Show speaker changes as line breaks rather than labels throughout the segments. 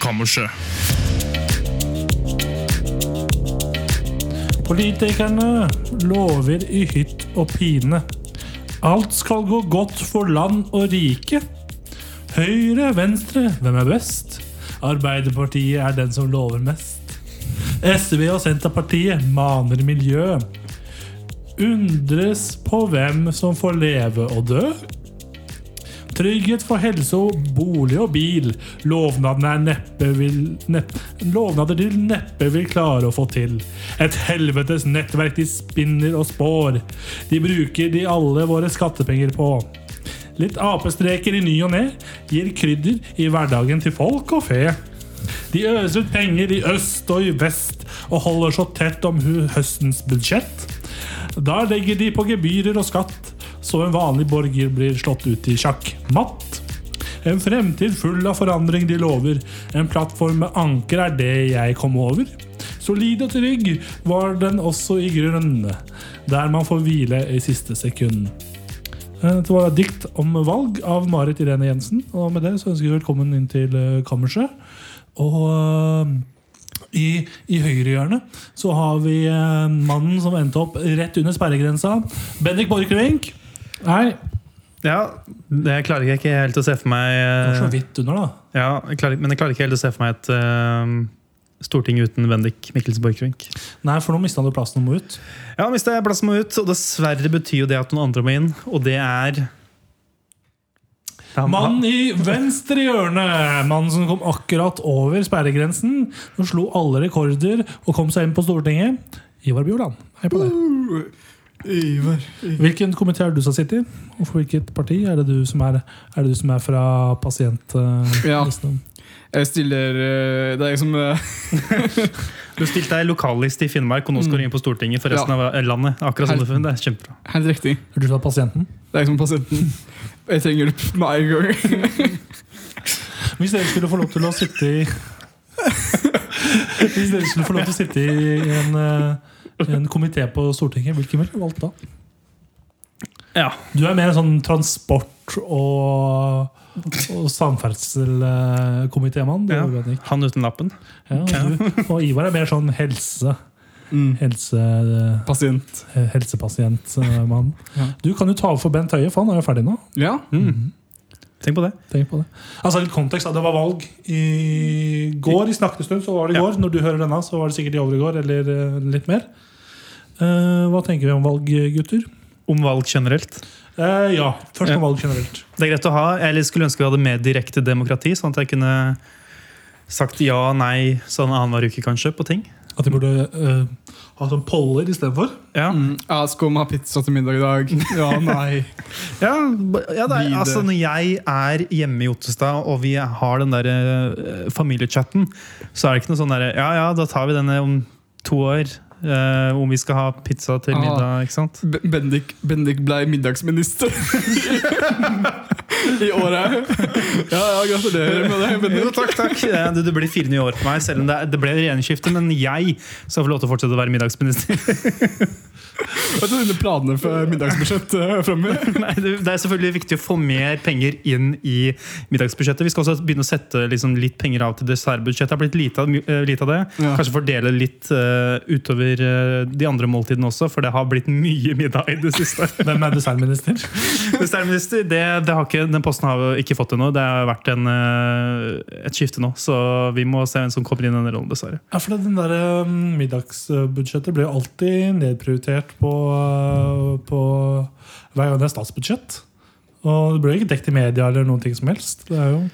kammerset.
Politikerne lover i hytt og pine. Alt skal gå godt for land og rike. Høyre, venstre, hvem er best? Arbeiderpartiet er den som lover mest. SV og Senterpartiet maner miljø. Undres på hvem som får leve og dø. Trygghet for helse og bolig og bil. Lovnadene er neppe vil nepp, Lovnader de neppe vil klare å få til. Et helvetes nettverk de spinner og spår. De bruker de alle våre skattepenger på. Litt apestreker i ny og ne gir krydder i hverdagen til folk og fe. De øser ut penger i øst og i vest og holder så tett om hu- høstens budsjett. Da legger de på gebyrer og skatt, så en vanlig borger blir slått ut i sjakkmatt. En fremtid full av forandring de lover, en plattform med anker er det jeg kom over. Solid og trygg var den også i grunnen, der man får hvile i siste sekund. Eh, Det var et dikt om valg av Marit Irene Jensen, og med det så ønsker jeg velkommen inn til eh, kammerset. Og eh, i, i høyrehjørnet så har vi eh, mannen som endte opp rett under sperregrensa. Bendik Borchgrevink. Nei,
Ja, det klarer jeg ikke helt å se for meg
det var så
eh,
vidt under, da.
ja, jeg klarer, Men jeg klarer ikke helt å se for meg et eh, storting uten Bendik Mikkelsen Borchgrevink.
Nei, for nå mista du plassen og må ut.
Ja, nå mistet jeg plassen må ut, og dessverre betyr jo det at noen andre må inn, og det er
Mannen i venstre hjørne. Mannen som kom akkurat over sperregrensen. Som slo alle rekorder og kom seg inn på Stortinget. Ivar Bjorland. Hei på deg.
Ivar.
Hvilken komité er det du som sitter i? Og for hvilket parti er det du som er, er, det du som er fra eh,
Ja.
pasientlisten?
Jeg stiller eh, Det er jeg som eh,
Du stilte deg lokallist i Finnmark, og nå skal du inn på Stortinget for resten av landet. Akkurat som du funnet, det er kjempebra.
Helt riktig.
Er du fra pasienten?
Det er jeg som er pasienten. Jeg trenger hjelp med en gang.
Hvis dere skulle få lov til å sitte i Hvis dere skulle få lov til å sitte i en, eh, en komité på Stortinget, hvilken ville du valgt da?
Ja.
Du er mer en sånn transport- og, og eh, samferdselskomitémann.
Ja.
Ja.
Han uten lappen.
Ja, og du- og Ivar er mer sånn helse,
Mm.
helse eh,
Pasient.
helsepasientmann.
Ja.
Du kan jo ta over for Bent Høie, for han er jo ferdig nå.
Ja.
Tenk på det.
Tenk på det. Altså litt kontekst, da. Det var valg i går. I snakkende stund så var det i
Ja.
går. Når du hører denne, så var det sikkert i overgår eller eh, litt mer. Eh, hva tenker vi om valg, gutter?
Om valg generelt.
Eh, ja, først om
Ja.
valg generelt.
Det er greit å ha. Jeg skulle ønske vi hadde mer direkte demokrati, sånn at jeg kunne sagt ja og nei sånn annenhver uke, kanskje, på ting.
At de burde eh, ha sånn poller istedenfor.
Ja,
Mm. Ja, skal vi ha pizza til middag i dag? Ja, nei.
ja, b- ja det er,
Blir det-
altså Når jeg er hjemme i Ottestad, og vi har den der eh, familiechatten, så er det ikke noe sånn derre Ja, ja, da tar vi denne om to år. eh, om vi skal ha pizza til
Ah.
middag, ikke sant?
B Bendik, Bendik ble middagsminister i året. Ja, ja, gratulerer med det,
Jo,
Bendik.
takk, takk. Eh, Det, det blir fire nye år på meg, selv om det, er- det ble regjeringsskifte. Men jeg skal få lov til å fortsette å være middagsminister.
Hva er dine planer for middagsbudsjettet eh, fremover?
Nei, det det er selvfølgelig viktig å få mer penger inn i middagsbudsjettet. Vi skal også begynne å sette liksom, litt penger av til dessertbudsjettet. Det har blitt lite av, my- eh, lite av det.
Ja.
Kanskje fordele litt eh, utover eh, de andre måltidene også, for det har blitt mye middag i det siste.
Hvem er designminister?
Dessvertminister, det, det har ikke, den posten har vi ikke fått ennå. Det har vært en, eh, et skifte nå, så vi må se hvem som kommer inn i den rollen, dessverre.
Ja, for den der eh, Middagsbudsjettet ble jo alltid nedprioritert på, eh, på hver gang det er statsbudsjett. Og det ble jo ikke dekt i media eller noen ting som helst. Det er jo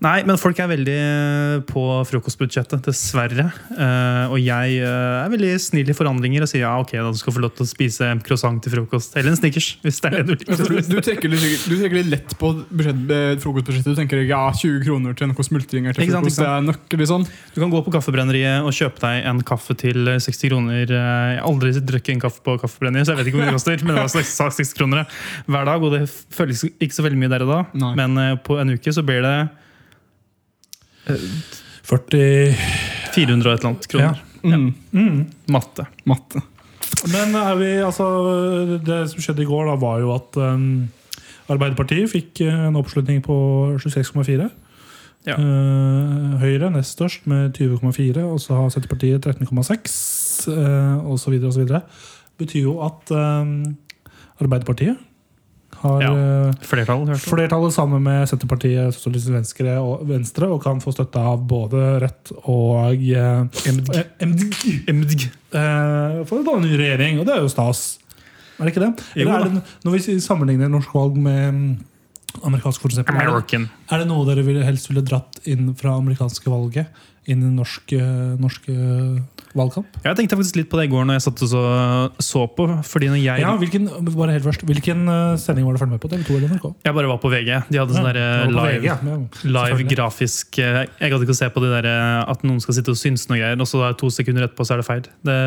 Nei, men folk er veldig eh, på frokostbudsjettet, dessverre. Eh, og jeg eh, er veldig snill i forhandlinger og sier ja, ok, da du skal få lov til å spise en croissant til frokost. Eller en Snickers, hvis det er det du
Altså, Du,
liker.
du, trekker litt, du trekker litt lett på budsjett, eh, frokostbudsjettet. Du tenker ja, 20 kroner til noe smultringer til
Ikke sant,
frokost. Det er nok, liksom.
Du kan gå på Kaffebrenneriet og kjøpe deg en kaffe til eh, 60 kroner. Eh, Jeg har aldri drukket en kaffe på Kaffebrenneriet, så jeg vet ikke hvor mye det koster. Men det var slags- slags 60 kroner hver dag, og det føles ikke så veldig mye der og da.
Nei.
Men eh, på en uke så blir det
40
400 og et eller annet kroner.
Mm.
mm.
Matte.
Matte.
Men er vi, altså, det som skjedde i går, da, var jo at um, Arbeiderpartiet fikk eh, en oppslutning på 26,4.
Ja.
Eh, Høyre nest størst med 20,4, og så har Senterpartiet 13,6 eh, og så videre og så videre Betyr jo at eh, Arbeiderpartiet har
Ja.
eh,
Flertall, hørte du?
flertallet sammen med Senterpartiet, Sosialistisk Venstre og, Venstre, og kan få støtte av både Rødt og eh,
MDG.
eh, MDG.
MDG.
Eh, for å danne ny regjering, og det er jo stas. Er det ikke det?
Jo
Eller
da.
er det når vi sammenligner norsk valg med mm, amerikansk, for eksempel, er det,
American.
er det noe dere ville, helst ville dratt inn fra amerikanske valget inn i norsk, eh, norsk eh, valgkamp?
Jeg tenkte faktisk litt på det i går når jeg satt og så, så på. Fordi når jeg,
Ja, hvilken, bare helt først, hvilken eh, sending var det følge med på? TV2 eller NRK?
jeg bare var på VG. De hadde sånn
Ja,
derre
det var på VG,
live,
ja. Ja,
live
selvfølgelig.
grafisk eh, Jeg gadd ikke å se på det der eh, at noen skal sitte og synse noe greier, og så da er det to sekunder etterpå så er det feil. Det,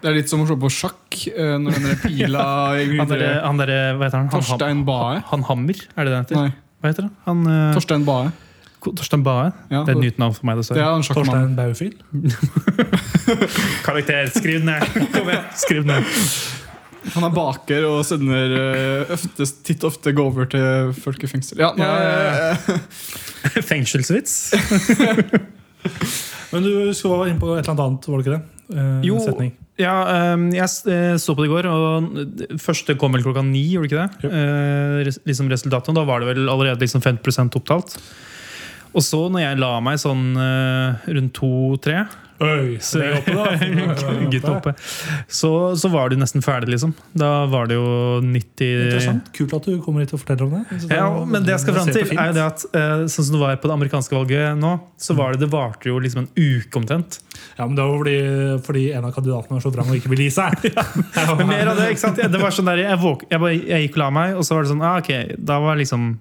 Det er litt som å se på sjakk eh, når den der pila
han derre
eh,
gryter.
han derre- Hva heter han? Han, ham,
Torstein Bae.
han Hammer? Er det det han heter?
Nei,
Hva heter det? Han, eh,
Torstein Bae.
Ko- Torstein Bae?
Ja,
Det er et
det
nytt navn for meg,
er
dessverre.
han sjakkmannen.
Torstein Baufil?
Karakter, skriv den ned! Kom igjen, skriv den ned.
Han er baker og sender eh, ofte, titt ofte over til folk i fengsel. Ja, nei,
Ja, ja,
eh,
Fengselsvits.
Men du skulle være inne på et eller annet, var det ikke det? Eh,
Jo.
Setning.
Ja, ehm, jeg s- eh, så på det i går, og det første kom vel klokka ni, gjorde det ikke det?
Jo.
Eh, res- liksom resultatet, og da var det vel allerede liksom 50 opptalt. Og så når jeg la meg sånn eh, rundt to-tre,
Øy,
så,
så det er oppe, da.
Gutt oppe. så, så var du nesten ferdig, liksom. Da var det jo 90
Interessant. Kult at du kommer hit og forteller om det. Jeg synes det
Ja,
var-
men det jeg skal fram
ser
til,
på fint.
er jo det at eh, sånn som det var på det amerikanske valget nå, så var det, det varte jo liksom en uke omtrent.
Ja, men Det var fordi, fordi en av kandidatene var så vrang og ikke ville gi seg.
Men mer av det, ikke sant? Det var sånn der, jeg, våk, jeg, bare, jeg gikk og la meg, og så var det sånn ah, Ok, da var liksom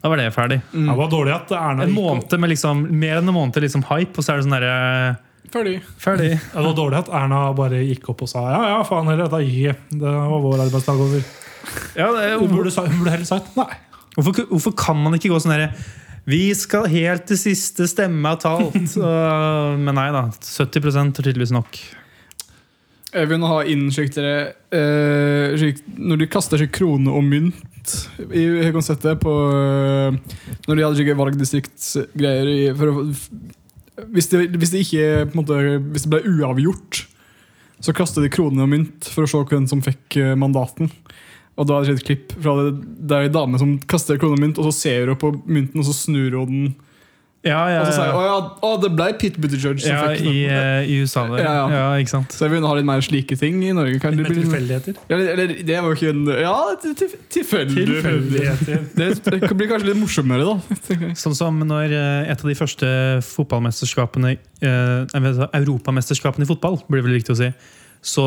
Da var det ferdig.
Det
mm.
var dårlig at Erna
En
gikk-
måned med liksom Mer enn en måned liksom hype, og så er det sånn derre
Ferdig.
Ferdig.
Ja, det var dårlig at Erna bare gikk opp og sa ja, ja, faen heller, dette gikk ikke. Det var vår arbeidsdag over.
Ja, det,
Hun burde, sa- hun burde heller sagt nei.
hvorfor, ku- hvorfor kan man ikke gå sånn derre vi skal helt til siste stemme er talt. Så, men nei da. 70 er tydeligvis nok.
Jeg vil nå ha inn slik dere eh, slik, Når de kaster seg krone og mynt i i konseptet på eh, Når de hadde slike valgdistriktsgreier i, for, å- f- hvis, det, hvis det ikke på en måte, Hvis det ble uavgjort, så kastet de krone og mynt for å se hvem som fikk eh, mandaten. Og da er det et klipp fra det, det er en dame som kaster krone og mynt, og så ser hun på mynten, og så snur hun den.
Ja, ja,
Og så sier hun
ja.
å ja, å, det ble Pete Buttigieg som
ja
fikk
i,
den.
eh, I USA, der. Ja,
Ja, ja.
ikke sant.
Så jeg vil nå ha litt mer slike ting i Norge. Kan
Litt
det bli
mer
litt
tilfeldigheter.
ja, Eller, eller det var jo ikke en Ja, til- til- tilfeldig.
Tilfeldigheter.
Det, det kan bli kanskje litt morsommere, da. tenker jeg.
Sånn som når eh, et av de første fotballmesterskapene eh, jeg vet ikke, Europamesterskapene i fotball, blir det vel riktig å si. Så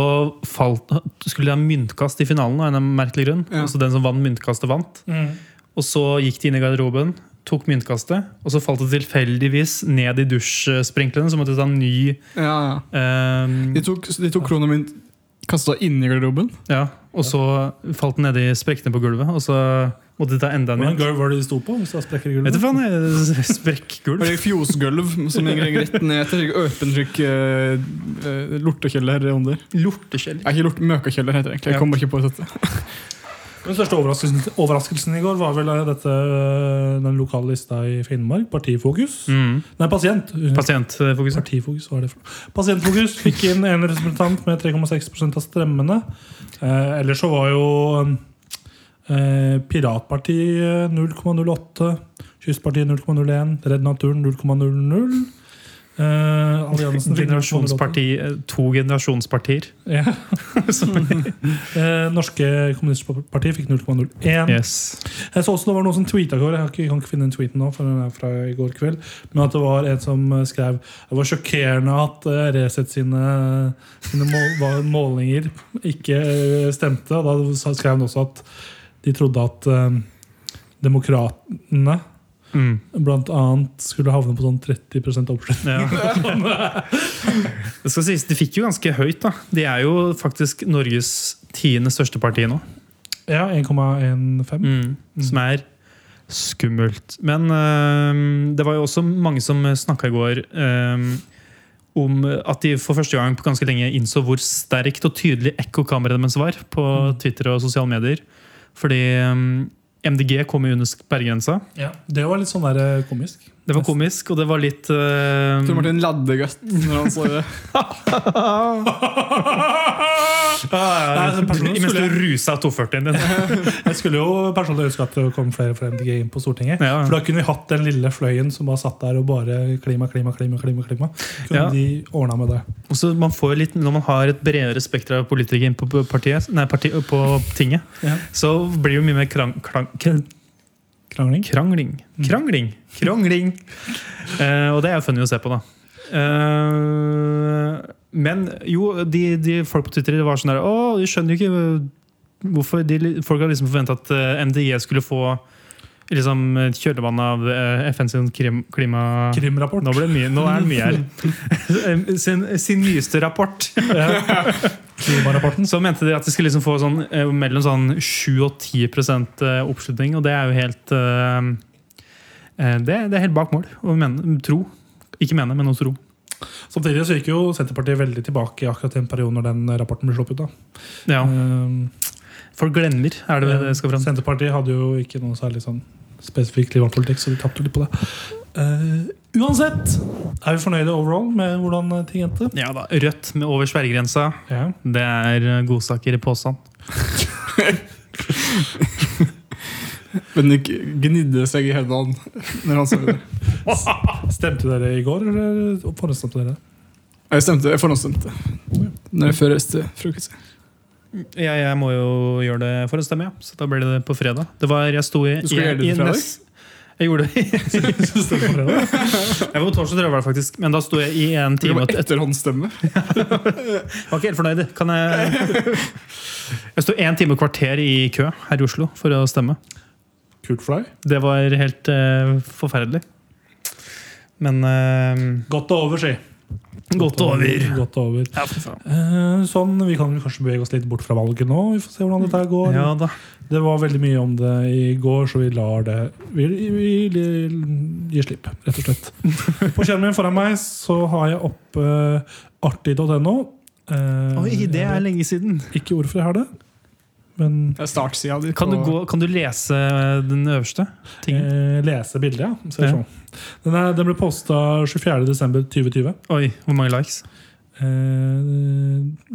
falt, skulle de ha myntkast i finalen av en eller annen merkelig grunn.
Ja.
Altså den som vant myntkastet, vant.
Mm.
Og så gikk de inn i garderoben, tok myntkastet, og så falt det tilfeldigvis ned i dusjsprinklene, så måtte de ta en ny
Ja, ja.
eh,
De tok, de tok krona mi kasta inn i garderoben.
Ja, og så falt den nedi sprekkene på gulvet, og så måtte de ta enda en
Hvordan
mynt.
gulv var det de sto på? hvis det var sprekker i
Vet du
gulvet?
faen, jeg-
Og
sprekkgulv.
det er fjosgulv som går rett ned til slik åpen slik eh, eh, lortekjeller under.
Lorteskjell.
Nei, ikke lort, møkakjeller, heter det egentlig. Jeg kom bare ikke på dette.
Den største overraskelsen, overraskelsen i går var vel eh, dette, eh, den lokale lista i Finnmark, Partifokus.
Mm. eh,
Nei, Pasient.
Pasientfokus.
Partifokus, hva er det for noe? Pasientfokus fikk inn en representant med 3,6 av stemmene. Eh, ellers så var jo eh, Piratpartiet 0,08, Kystpartiet 0,01, Redd Naturen 0,00. Eh, Alliansen fikk 0,08.
Generasjonsparti, eh, to generasjonspartier.
Ja. eh, Norske Kommunistpartiet fikk 0,01.
Yes.
Jeg så også det var noen som tweeta i går. Jeg har ikke- kan ikke finne den tweeten nå, for den er fra i går kveld. Men at det var en som eh, skrev Det var sjokkerende at eh, Resett sine, sine mål, var- målinger ikke eh, stemte. Og da sa- skrev han også at de trodde at eh, demokratene
Mm.
blant annet skulle havne på sånn 30 oppslutning.
Ja. Det skal sies, de fikk jo ganske høyt, da. De er jo faktisk Norges tiende største parti nå.
Ja, 1,15.
Mm. Som er skummelt. Men øhm, det var jo også mange som snakka i går øhm, om at de for første gang på ganske lenge innså hvor sterkt og tydelig ekkokameraet deres var på
Mm.
Twitter og sosiale medier. Fordi ehm, øhm, MDG kom jo under sperregrensa.
Ja, det var litt sånn der eh, komisk.
Det var komisk, og det var litt eh,
Tor Martin ladde godt når han så det.
Ah.
Nei,
ja,
så personlig
Mens du
skulle
rusa 240-en din.
Jeg skulle jo personlig ønske at det kom flere fra MDG inn på Stortinget.
Ja.
For da kunne vi hatt den lille fløyen som bare satt der og bare klima, klima, klima. klima, klima. Kunne
Ja.
de ordna med det.
Og så man får jo litt, Når man har et bredere spekter av politikere inn på, på partiet, nei, parti, på tinget,
Ja.
så blir det jo mye mer krang, krang, kr-
Krangling.
krangling. Krangling! Krangling! Eh, og det er jo funny å se på, da. Eh, men jo, de, de folk på Twitter var sånn der Å, de skjønner jo ikke eh, hvorfor de, li- Folk har liksom forventa at eh, MDG skulle få liksom et kjølvann av eh, FN sin krim, klima...
Krimrapport.
Nå, ble det mye, nå er det mye her. sin, sin nyeste rapport.
Klimarapporten.
Så mente de at de skulle liksom få sånn, eh, mellom sånn 7 og 10 prosent, eh, oppslutning, og det er jo helt eh, eh, det, det er helt bak mål å mene, tro. Ikke mene, men å tro.
Samtidig så gikk jo Senterpartiet veldig tilbake i akkurat den perioden når den rapporten ble sluppet. da.
Ja,
Ehm,
For glemmer, er det det skal fram til.
Senterpartiet hadde jo ikke noe særlig sånn spesifikk klimapolitikk, så de tapte litt på det. Eh, uansett er vi fornøyde overall med hvordan eh, ting endte.
Ja da, Rødt med over sperregrensa,
Ja.
det er eh, godsaker i påstand.
Bendik gnidde seg i hendene når han så det.
Stemte dere i går, eller forhåndsstemte dere?
Jeg stemte, jeg forhåndsstemte. Når jeg før reiste frokost.
Ja, jeg må jo gjøre det for å stemme, ja. Så da ble det på fredag. Det var, jeg sto i,
Du skulle
i-
gjøre det
i
på fredag?
nes- Jeg gjorde det
Stemte dere det?
Jeg var på torsdag, tror jeg var det faktisk. Men da sto jeg i en
Det
time
var
og et,
etterhåndsstemme.
Var ikke helt fornøyd. Kan jeg Jeg sto en time og kvarter i kø her i Oslo for å stemme.
Kult for deg.
Det var helt eh, forferdelig. Men eh,
Godt over, si.
godt over.
Godt over.
Ja, for faen.
Eh, sånn, Vi kan vel kanskje bevege oss litt bort fra valget nå. Vi får se hvordan dette her går.
Ja da.
Det var veldig mye om det i går, så vi lar det Vi, vi, vi gir slipp, rett og slett. På skjermen min foran meg så har jeg oppe eh, artig.no. Eh,
Oi, det er
jeg
lenge siden.
vet Ikke hvorfor jeg har det, men
Det er startsida di.
Kan du,
på-
gå, kan du lese den øverste tingen?
eh, lese bildet, ja. Skal vi se.
Ja.
sånn. Den, er, den ble posta 24.12.2020.
Oi, hvor mange likes?
Eh,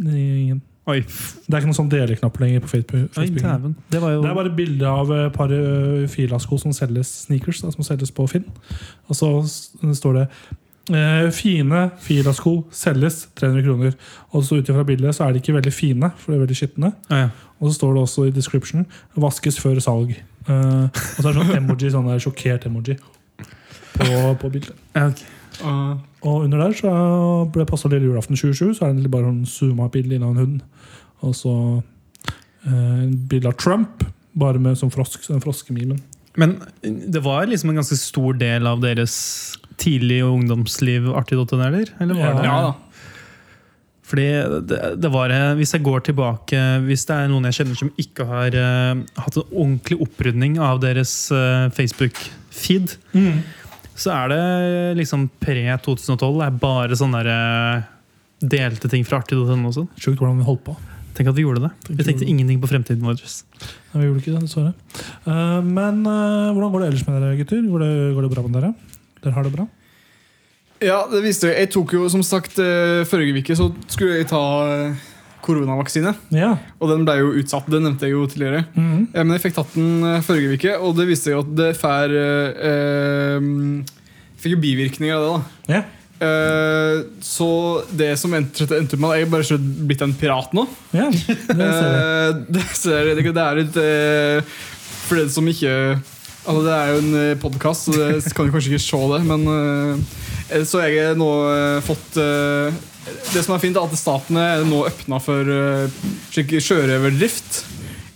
ingen.
Oi,
det er ikke noen sånn deleknapp lenger på Facebook.
Oi
Facebook.
dæven. Det var jo
Det er bare bilde av et par ø, filasko som selges sneakers, da, som selges på Finn. Og så s- står det eh, 'Fine filasko selges 300 kroner'. Og så ut ifra bildet så er de ikke veldig fine, for de er veldig skitne.
Å, ja.
Og så står det også i description 'vaskes før salg'. Eh, og så er det sånn emoji, sånn der sjokkert emoji på, på bildet.
Ja, ok.
Ah.
Og under der så ble det passet lille julaften 27, så er det bare en zooma-bilde av en hund. Og så eh, en bilde av Trump, bare med sånn frosk, den froskemimen.
Men det var liksom en ganske stor del av deres tidlige ungdomsliv artig.no, eller? eller var det?
Ja da.
Fordi det, det var eh, Hvis jeg går tilbake Hvis det er noen jeg kjenner som ikke har eh, hatt en ordentlig opprydning av deres eh, Facebook-feed, så er det liksom pre-2012 er bare sånne der, eh, delte ting fra artig.no og sånn.
Sjukt hvordan vi holdt på.
Tenk at vi gjorde det.
Tenk
Vi
at vi
tenkte
gjorde
ingenting på fremtiden vår.
Nei, vi gjorde ikke det, dessverre. Eh, men eh, hvordan går det ellers med dere, gutter? Går det, går det bra med dere? Dere har det bra?
Ja, det visste jeg. Jeg tok jo, som sagt, eh, forrige uke så skulle jeg ta eh, koronavaksine.
Ja.
Og den ble jo utsatt. Det nevnte jeg jo tidligere.
Mhm.
Eh, Men jeg fikk tatt den eh, forrige uke, og det viste seg jo at det får eh, eh, Fikk jo bivirkninger av det, da.
ja.
Eh, så det som endte endte opp med at Jeg bare har blitt en pirat nå.
Ja, det ser jeg.
Eh, det, ser jeg, det er litt eh, For den som ikke Altså Det er jo en podkast, så det kan du kanskje ikke se det. Men eh, Så jeg har nå eh, fått eh, Det som er fint, er at staten er nå åpna for eh, slik sjørøverdrift.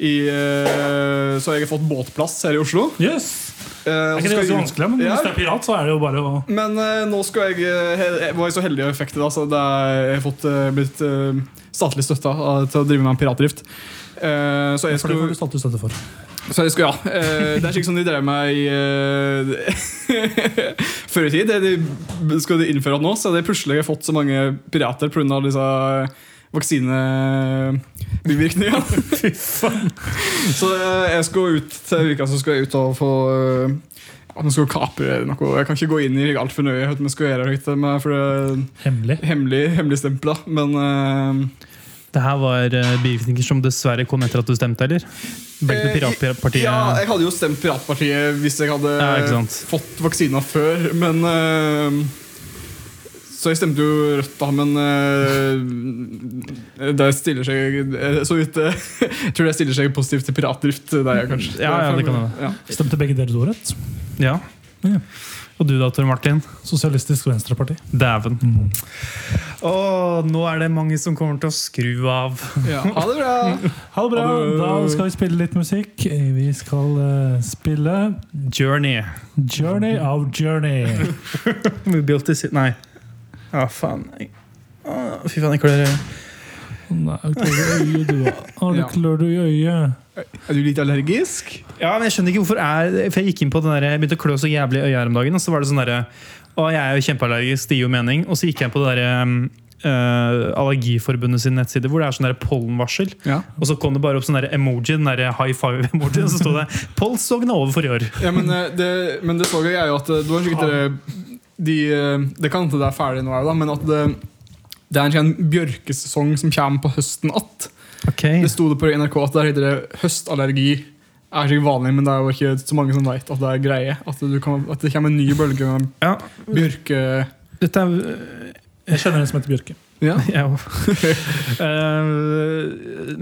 I, eh, så jeg har fått båtplass her i Oslo.
Yes.
Eh, og
Det er
så
ikke det
skal
så
jeg-
vanskelig, men
Ja.
hvis det er pirat, så er det jo bare å
Men eh, nå skal jeg eh, he- jeg var jeg så heldig og fikk det, da, så det er, jeg har fått, eh, blitt eh, statlig støtta eh, til å drive med en piratdrift. Eh, så jeg
For det
skulle
får du status støtte for.
så jeg skulle, ja. Eh, Det er slik som de drev med i eh, Før i tid. Det de, skal de innføre det nå, så hadde jeg plutselig fått så mange pirater pga. disse vaksinebivirkninger.
Fy faen.
Så eh, jeg skal ut til uka så skal jeg ut og få eh, at vi skal kapre noe. Jeg kan ikke gå inn i det altfor nøye, hva vi skal gjøre, riktig, men for det er
Hemmelig.
hemmelig, hemmelig stempla. Men eh,
Det her var eh, bivirkninger som dessverre kom etter at du stemte, eller? Ble ikke det piratpartiet
Eh, ja, jeg hadde jo stemt Piratpartiet hvis jeg hadde
Ja, ikke sant.
fått vaksina før, men eh, Så jeg stemte jo Rødt, da, men eh, det stiller seg eh, så vidt eh, Jeg tror det stiller seg positivt til piratdrift eh, der, kanskje.
Ja, ja, det kan hende.
Ja.
Stemte begge dere to rødt?
Ja.
Ja.
Og du da, Tor Martin?
Sosialistisk Venstreparti.
Dæven.
Mm.
Å, nå er det mange som kommer til å skru av.
Ja, ha det bra!
Ha det bra!
Ha det.
Da skal vi spille litt musikk. Vi skal eh, spille
Journey.
'Journey of Journey'.
Mobility City Nei. Ja, faen. Jeg- Å, Fy faen, jeg klarer
Nei, klør du i øyet, du, da? Å, det
Ja.
klør du i øyet.
Er du litt allergisk?
Ja, men jeg skjønner ikke hvorfor er For jeg gikk inn på den der, jeg begynte å klø så jævlig i øyet her om dagen, og så var det sånn derre Å, jeg er jo kjempeallergisk, det gir jo mening. Og så gikk jeg på det derre um, eh, Allergiforbundet sin nettside, hvor det er sånn der pollenvarsel.
Ja.
Og så kom det bare opp sånn der emoji, den der high five-emojien, og så sto det 'Polsognet over for i år'.
men, eh, det, men det så jeg er jo at eh, du har sikkert eh, de, eh, Det kan hende det er ferdig nå, da, men at det, det er en sånn bjørkesesong som kommer på høsten att.
Okay.
Det sto det på NRK at der heter det høstallergi. Er sikkert vanlig, men det er jo ikke så mange som veit at det er greie. At, du kan, at det kommer en ny bølge med
Ja,
bjørke...
dette er
Jeg kjenner en som heter Bjørke.
Ja.
Ja. Eh,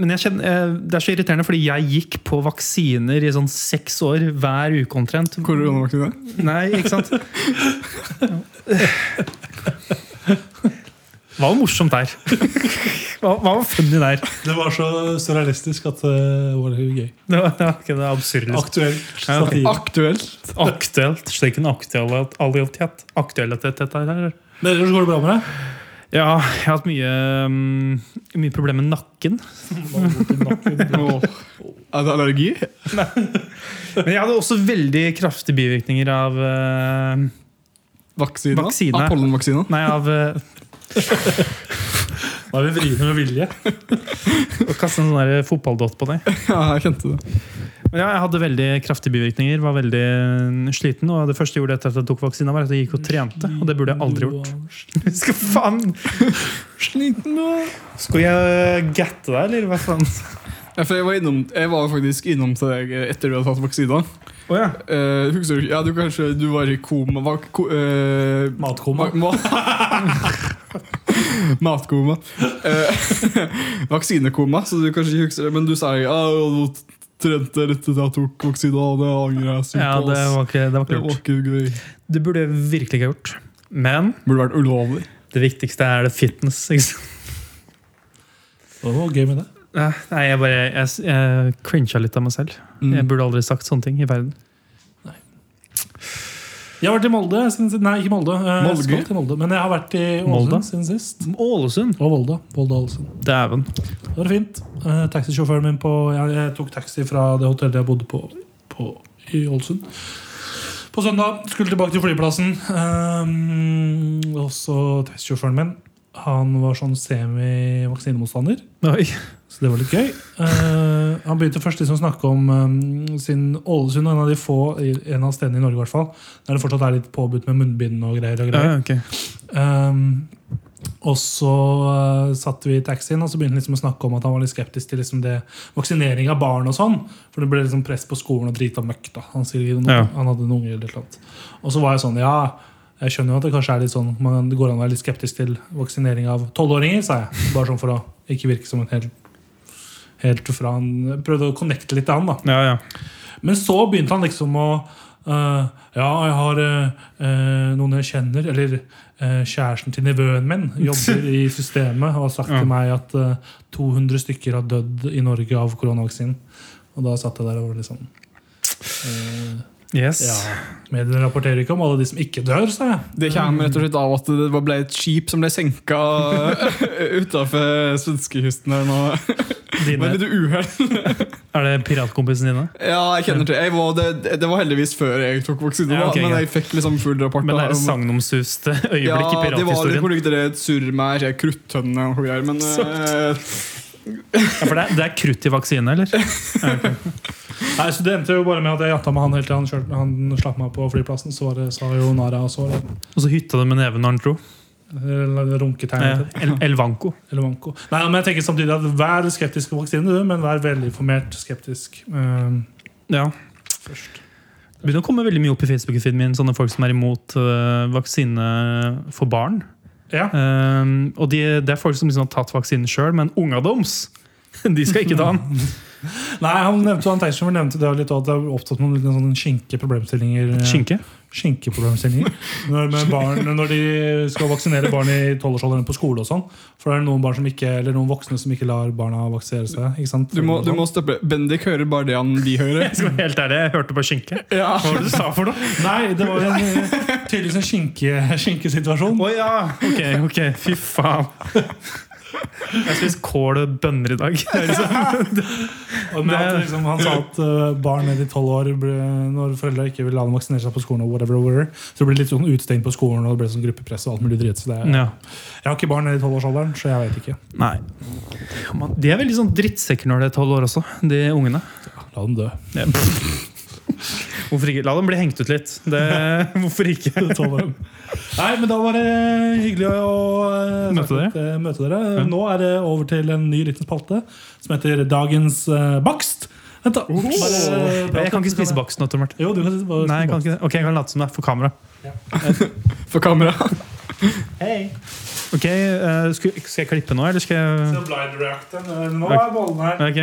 men jeg kjenner, eh, det er så irriterende, fordi jeg gikk på vaksiner i sånn seks år hver uke omtrent.
Koronavaksine?
Nei, ikke sant? Hva var morsomt der? Hva, hva var funny der?
Det var så surrealistisk at eh, det var gøy.
Det var, det var ikke det absurde.
Aktuelt
Ja, ok.
satir.
Aktuelt.
Aktuelt. Slik en aktualitet. Aktualitet, aktualitet dette her.
Dere, går det bra med deg?
Ja, jeg har hatt mye, mm, mye problemer med nakken.
Åh. Er det allergi?
Men jeg hadde også veldig kraftige bivirkninger av eh,
Vaksina?
Vaksine.
Ah, pollenvaksina?
Nei, av eh,
Da er vi vriene med vilje.
å kaste en sånn der fotballdott på deg.
Ja, jeg kjente det.
Men ja, jeg hadde veldig kraftige bivirkninger, var veldig eh, sliten. Og det første jeg gjorde etter at jeg tok vaksina, var at jeg gikk og trente. Og det burde jeg aldri gjort. Skal faen
Sliten nå.
Skal jeg eh, gatte deg, eller hva faen?
Ja, for jeg var, innom, jeg var faktisk innom til deg etter du hadde tatt vaksina.
Å ja.
Eh, husker du ikke? Ja, du kanskje du var i koma var, ko, eh,
Matkoma.
ma- ma- Matkoma. Eh, vaksinekoma, så du kanskje ikke husker det. Men du sa ja, og nå trente jeg litt til jeg tok vaksina, og det angrer jeg
ja
sykt på.
det,
ass.
var ikke, det var
Det
ikke
var
lurt.
ikke gøy.
Det burde jeg virkelig ikke ha gjort. Men
Burde vært ulovlig.
det viktigste er det fitness. Ikke sant?
Det var gøy med det.
Nei, jeg bare Jeg, jeg crincha litt av meg selv.
Mm.
Jeg burde aldri sagt sånne ting i verden.
Jeg har vært i Molde siden sist. Nei, ikke Molde. Eh,
Molde?
skal til Molde. Men jeg har vært i
Molde?
Ålesund siden sist.
Ålesund!
Og Volda. Volda altså. Ålesund.
Dæven.
Det var fint. Eh, Taxisjåføren min på jeg, jeg tok taxi fra det hotellet jeg bodde på, på i Ålesund. På søndag skulle tilbake til flyplassen. Um, og så taxisjåføren min. Han var sånn semi-vaksinemotstander,
Oi.
så det var litt gøy. Eh, han begynte først liksom å snakke om um, sin Ålesund, en av de få En av stedene i Norge i hvert fall der det fortsatt er litt påbudt med munnbind og greier. og
Ja,
greier
ja, ok.
Um, og så uh, satt vi i taxien, og så begynte han liksom å snakke om at han var litt skeptisk til liksom det vaksinering av barn og sånn. For det ble liksom press på skolen og drita møkk. da Han, sier noe,
Ja.
han hadde noen unger eller et eller annet. Og så var jeg sånn, ja, jeg skjønner jo at det kanskje er litt sånn man, det går an å være litt skeptisk til vaksinering av tolvåringer, sa jeg. Bare sånn for å ikke virke som en helt Helt fra han Prøvde å connecte litt til han, da.
Ja, ja.
Men så begynte han liksom å eh, Ja, jeg har eh, eh, noen jeg kjenner, eller eh, kjæresten til nevøen min, jobber i systemet og har sagt
Ja.
til meg at eh, 200 stykker har dødd i Norge av koronavaksinen. Og da satt jeg der og var litt sånn eh,
Yes.
Ja, Mediene rapporterer ikke om alle de som ikke dør, sa jeg.
Det kommer rett og slett av at det var- ble et skip som ble senka utafor svenskekysten her nå.
Dine,
Med litt uhell.
er det piratkompisene dine?
Ja, jeg kjenner til jeg var, det. Det var heldigvis før jeg tok vaksine,
Ja,
da,
ok,
men
greit.
jeg fikk liksom full rapport.
Men det
da
er et
om-
sagnomsust eh,
det
øyeblikk i
var litt
pirathistorien.
hvor det ikke er et surr med ikke kruttønne og noe greier, men eh,
Ja, for det er, det er krutt i vaksine, eller?
Nei, så Det endte jo bare med at jeg jatta med han helt til han, kjørte, han slapp meg på flyplassen. Så var det, sa jo Nara, og så var det
Og så hytta det med neven når han dro.
eller runketegn.
Eh,
til det,
El Elvanco.
Eller manko. Nei, men jeg tenker samtidig at Vær skeptisk til vaksine, du, men vær velinformert skeptisk. eh,
Ja.
først.
Det begynner å komme veldig mye opp i Facebook-feeden min, sånne folk som er imot eh, vaksine for barn.
Ja.
Ehm, og de, det er folk som liksom har tatt vaksinen sjøl, men unga deres de skal ikke ta den.
Nei, han nevnte, han Tetzschner nevnte det litt, også, at det er opptatt med noen sånne skinkeproblemstillinger. eh,
Skinke.
skinkeproblemstillinger. Når, med barn, når de skal vaksinere barn i tolvårsalderen på skole og sånn. For det er noen barn som ikke, eller noen voksne som ikke lar barna vaksinere seg. Ikke sant?
du, må, du må stoppe. Bendik hører bare det han vi hører.
Jeg skal være helt ærlig, jeg hørte på skinke.
Ja.
Hva var det du sa for noe?
Nei, det var en, eh, tydeligvis en skinke, skinkesituasjon.
Å ja! Ok, ok, fy faen. Jeg spiste kål og bønner i dag. Det er liksom,
Og med at, liksom, han sa at eh, barn ned i tolv år, ble, når foreldre ikke vil la dem vaksinere seg på skolen, og whatever, whatever, så det ble litt sånn utestengt på skolen, og det ble sånn gruppepress og alt mulig dritt. Så det, er-
ja.
jeg har ikke barn ned i tolvårsalderen, så jeg vet ikke.
Nei. Man, de er veldig sånn drittsekker når de er tolv år også, de ungene.
La dem dø.
Ja. Hvorfor ikke? La dem bli hengt ut litt. Det, hvorfor ikke?
Tolv år. Nei, men da var det hyggelig å eh,
Møte dere.
snakke- eh, møte dere.
Ja.
Nå er det over til en ny liten spalte som heter Dagens eh, bakst. Vent, da. Bare eh, prat
Jeg
litt,
kan ikke
så
spise
jeg-
bakst nå, Tor Martin.
Jo, du kan spise bakst.
Nei, jeg kan ikke det. Ok, jeg kan late som det er for kamera.
For kamera.
Hei.
Ok, eh, skal, skal jeg klippe nå, eller skal jeg
Nå er bollen her.
Ok,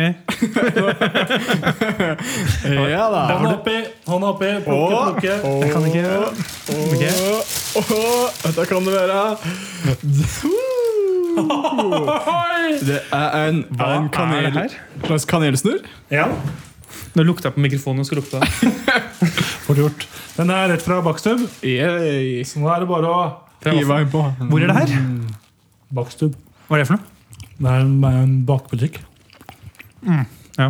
Ja da.
Hånda oppi, hånda oppi, plukke,
Åh.
plukke.
jeg kan ikke
Åh,
Ok.
åh, Dette kan det være.
Oi!
Det er en,
Hva
en
er det
kanel,
her?
slags kanelsnurr.
Ja,
Nå lukta jeg på mikrofonen. og skal lukte den.
fort gjort. Den er rett fra bakstubb,
Yay.
så nå er det bare å
Hiva innpå.
Hvor er det her?
Bakstubb.
Hva er det for noe?
Det er en, en bakbutikk.
ja.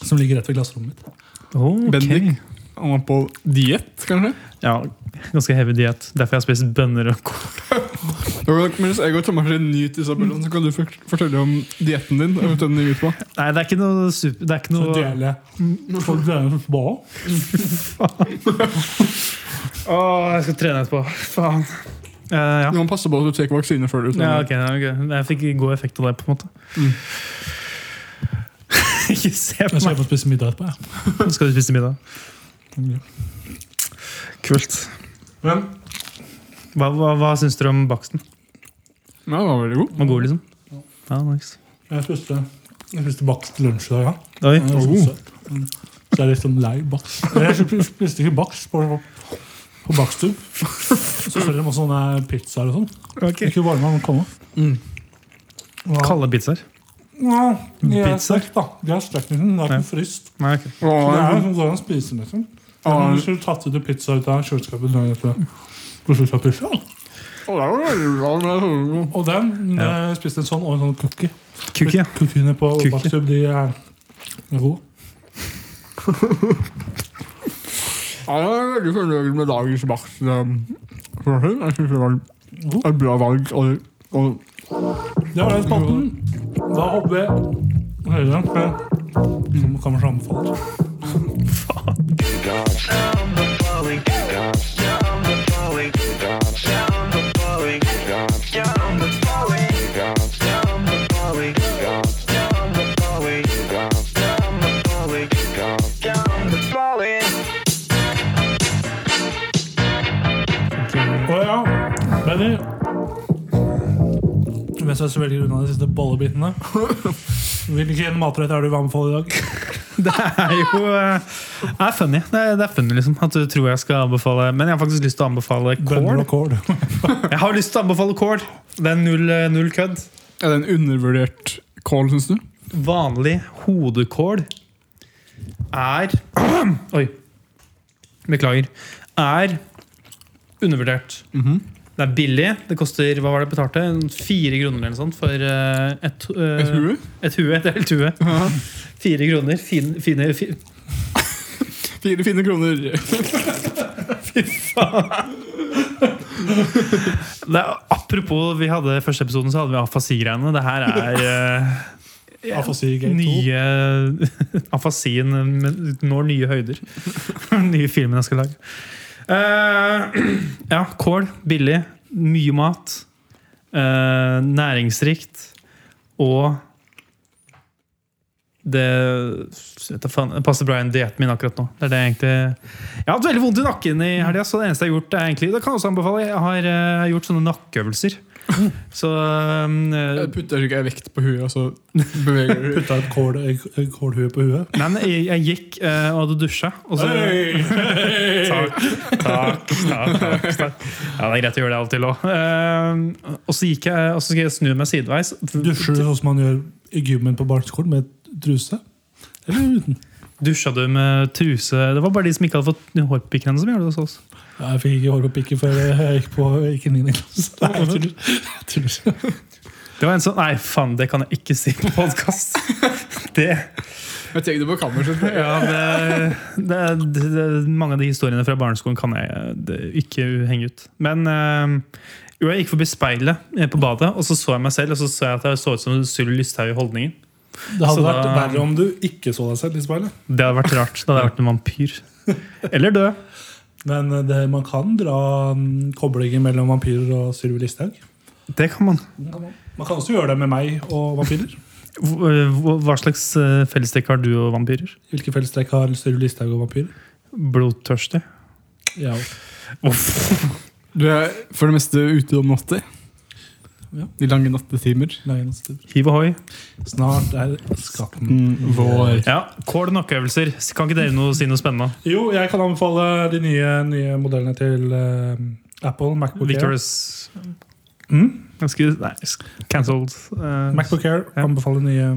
Som ligger rett ved klasserommet mitt.
Ok.
Bendik. Han var på diett, kanskje?
Ja, ganske heavy diett. Derfor jeg har spist bønner og kål.
Da kan- Mens jeg og Thomas er ny til Isabel, så kan du fort- fortelle om dietten din. eventuelt den gikk ut på.
Nei, det er ikke noe super... Det er ikke
Så
noe...
dele. Folk dele på ball.
Åh, jeg skal trene etterpå. Faen. Eh, ja.
Du må passe på at du tar vaksine før du tar
Ja,
den.
ok, ja, ok. Jeg fikk god effekt av det, på en måte.
Mm.
ikke se
Jeg
på
skal
meg.
få spise middag etterpå. jeg.
Nå skal du spise middag. Kult.
Men
Hva, hva, hva syns dere om baksten?
Ja, den var veldig god.
Den Var god, liksom? Ja, nice.
jeg spiste, jeg spiste bakst til lunsj i dag, ja.
Oi.
Det var så søtt. Mm. Så jeg er litt sånn lei bakst. Men Jeg sp- spiste ikke bakst på, på bakstub. Så får de også sånne pizzaer og sånn.
Okay.
Ikke varme, men komme. Ja.
Kalde pizzaer?
Ja, de er
Pizza?
stekt, da. De er stekt, liksom. Det er
Ja.
ikke frist.
Nei, ok.
Det
Åh,
er
den-
jo sånn går an å spise, liksom.
Ja.
Men Du skulle tatt ut en pizza ut av kjøleskapet dagen etter. Du skulle tatt pizza.
Åh, den var veldig bra, den var veldig god.
Og den
Ja.
eh, spiste en sånn og en sånn cookie.
Kuk, ja.
Cookiene på
Cookie.
Bakstub, de er er gode.
Ja, jeg er veldig fornøyd med dagens vakt. eh, for å si. Jeg synes det var et bra valg. Og, og
Det var den spalten. Da hopper vi høyere. Som kanskje anbefaler. Å ja, Benny. Mens jeg svelger unna de siste bollebitene Hvilken matrett er det du vil anbefale i dag?
Det er jo eh, Det er funny. Det er, det er funny liksom At du tror jeg skal anbefale Men jeg har faktisk lyst til å anbefale
Bønner
kål.
og kål.
Jeg har lyst til å anbefale kål! Det er null, eh, null kødd.
er det en undervurdert kål, syns du?
Vanlig hodekål er Oi. Beklager. Er undervurdert. Det er billig. Det koster hva var det jeg betalte? Fire kroner eller noe sånt for eh, et, eh,
Et hue?
Et hue, et helt hue.
Ja.
Fire kroner. Fin, fine, fi,
Fire fine kroner.
det er, apropos vi hadde første episoden, så hadde vi afasi-greiene. Det her er eh,
Afasi Gate 2.
nye Afasien men når nye høyder. nye filmen jeg skal lage. Eh, ja, kål. Billig. Mye mat. eh, næringsrikt. Og det vet da faen, det passer bra inn i dietten min akkurat nå. Det er det jeg egentlig Jeg har hatt veldig vondt i nakken i helga, så det eneste jeg har gjort, er egentlig Det kan jeg også anbefale. Jeg har eh, gjort sånne nakkeøvelser. Så eh,
Jeg putter ikke vekt på huet, og så beveger du
Putta et kål, et kålhue på huet.
Nei, men jeg, jeg gikk eh, og hadde dusja. Og så, takk, takk, takk, takk, takk. Ja, det er greit å gjøre det av og til òg. og så gikk jeg, og så skal jeg snu meg sideveis.
Dusjer du sånn som man gjør i gymmen på barneskolen, med truse? Eller uten?
Dusja du med truse Det var bare de som ikke hadde fått hår på pikkene, som gjorde det hos oss.
Ja, jeg fikk ikke hår på pikken før jeg gikk på gikk i 9. klasse. Nei, jeg tuller. Jeg tuller.
Det var en sånn Nei, faen, det kan jeg ikke si på podkast. Det,
Jeg tenker det på kammerset.
ja, det, det, det, det Mange av de historiene fra barneskolen kan jeg det, ikke henge ut. Men eh, jo, jeg gikk forbi speilet eh, på badet, og så så jeg meg selv, og så så jeg at jeg så ut som Sylvi Lysthaug i Holdningen.
Det hadde
Så
vært
da-
verre om du ikke så deg selv i speilet.
Det hadde vært rart. Det hadde jeg vært en vampyr. Eller død.
Men eh, det, man kan dra mm, koblinger mellom vampyrer og Sylvi Listhaug.
Det kan man.
Man kan også gjøre det med meg og vampyrer.
Hva hva slags eh, fellestrekk har du og vampyrer?
Hvilke fellestrekk har Sylvi Listhaug og vampyrer?
Blodtørstig.
Ja.
Du er for det meste ute om natta.
Ja.
De lange nattetimer.
Nei, nå sitter-
Hiv ohoi.
Snart er skatten
Mm, vår.
Ja, kål og nakkeøvelser. Kan ikke dere noe, si noe spennende?
Jo, jeg kan anbefale de nye, nye modellene til eh, Apple. MacBook Air.
Victorious
Mm?
Jeg skulle, Nei, sk- cancelled. eh,
MacBook Air
Ja.
anbefaler nye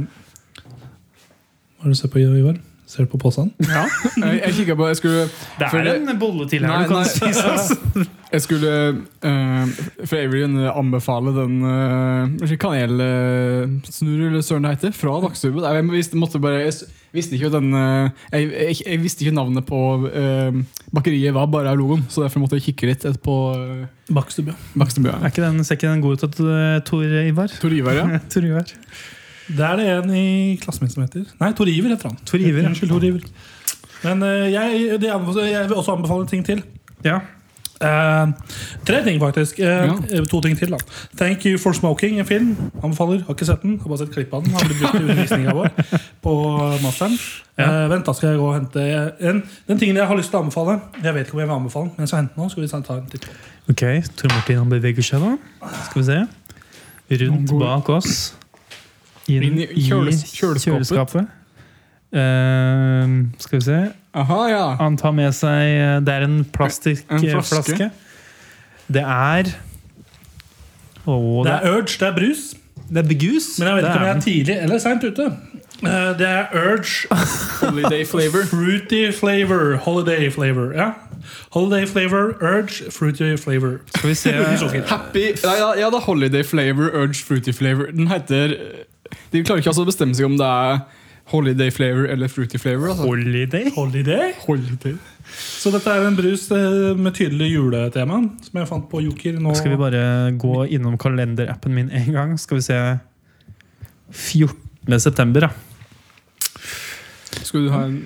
Hva er det du ser på, Ivar? Ser du på posen?
ja.
Jeg, jeg kikket på Jeg skulle,
Det
For
er
det-
en bolle til
Nei,
her du kan
nei.
spise. ass.
jeg skulle eh, For jeg vil gjerne anbefale den uh, kanelsnurr, eh, eller søren det heter, fra Dagsrevyen. Jeg, visste- måtte bare- jeg s- visste ikke at den eh, jeg, jeg, jeg visste ikke navnet på eh, bakeriet var bare av logoen, så derfor måtte jeg kikke litt et på uh,
Bakstubbe.
Bakstebø.
Er ikke den, ser ikke den god ut, at, eh, Tor Ivar?
Tor Ivar, ja.
Tor Ivar.
Det er det en i klassen min som heter. Nei, Tor Iver heter han.
Tor Iver, ja.
Unnskyld, Tor Iver. Men eh, jeg, de anbefale, jeg vil også anbefale en ting til.
Ja.
Eh, tre ting, faktisk. Eh,
Ja.
eh, To ting til. da Thank You For Smoking, en film. Anbefaler. Har ikke sett den. Har bare sett klipp av den. Har blitt brukt i undervisninga vår på masteren.
Ja.
Eh, vent, da skal jeg gå og hente en. Den tingen jeg har lyst til å anbefale Jeg vet ikke om jeg vil anbefale den, men jeg skal hente den nå. Skal vi ta en titt på den.
Ok, Tor Martin han beveger seg, da. Skal vi se.
Han
Rundt
går-
bak oss. Inn,
Inn i kjøles- kjøleskapet.
Ehm, skal vi se
Aha, ja.
Han tar med seg eh, Det er en
En
plastikkflaske.
flaske.
Flaske. Det er Å,
Det
det
er Urge, det er brus.
er, det er begus.
Men jeg vet
Det
ikke om jeg
er
er tidlig eller seint ute. Eh, det er Urge
Holiday flavor.
Fruity Flavor. Holiday Flavor. Ja. Holiday Flavor, Urge Fruity Flavor.
Skal vi se
Happy Nei, ja, ja, det er Holiday Flavor, Urge Fruity Flavor. Den heter De klarer ikke altså å bestemme seg om det er Holiday Flavor eller Fruity Flavor. Altså.
Holiday?
Holiday?
Holiday.
Så dette er en brus eh, med tydelig juletema, som jeg fant på Joker nå.
Skal vi bare gå innom kalenderappen min en gang? Skal vi se 14. september, da.
Skal du ha en